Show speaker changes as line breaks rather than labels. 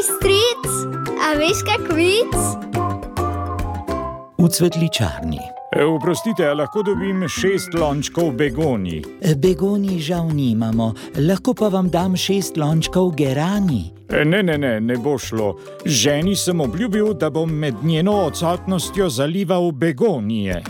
stric, a veš kak vic?
v cvetličarni.
E, Oprostite, a lahko dobim šest lončkov begoni?
Begoni žal nimamo, lahko pa vam dam šest lončkov gerani.
E, Ne, ne, ne, ne bo šlo. Ženi sem obljubil, da bom med njeno odsotnostjo zalival begonije.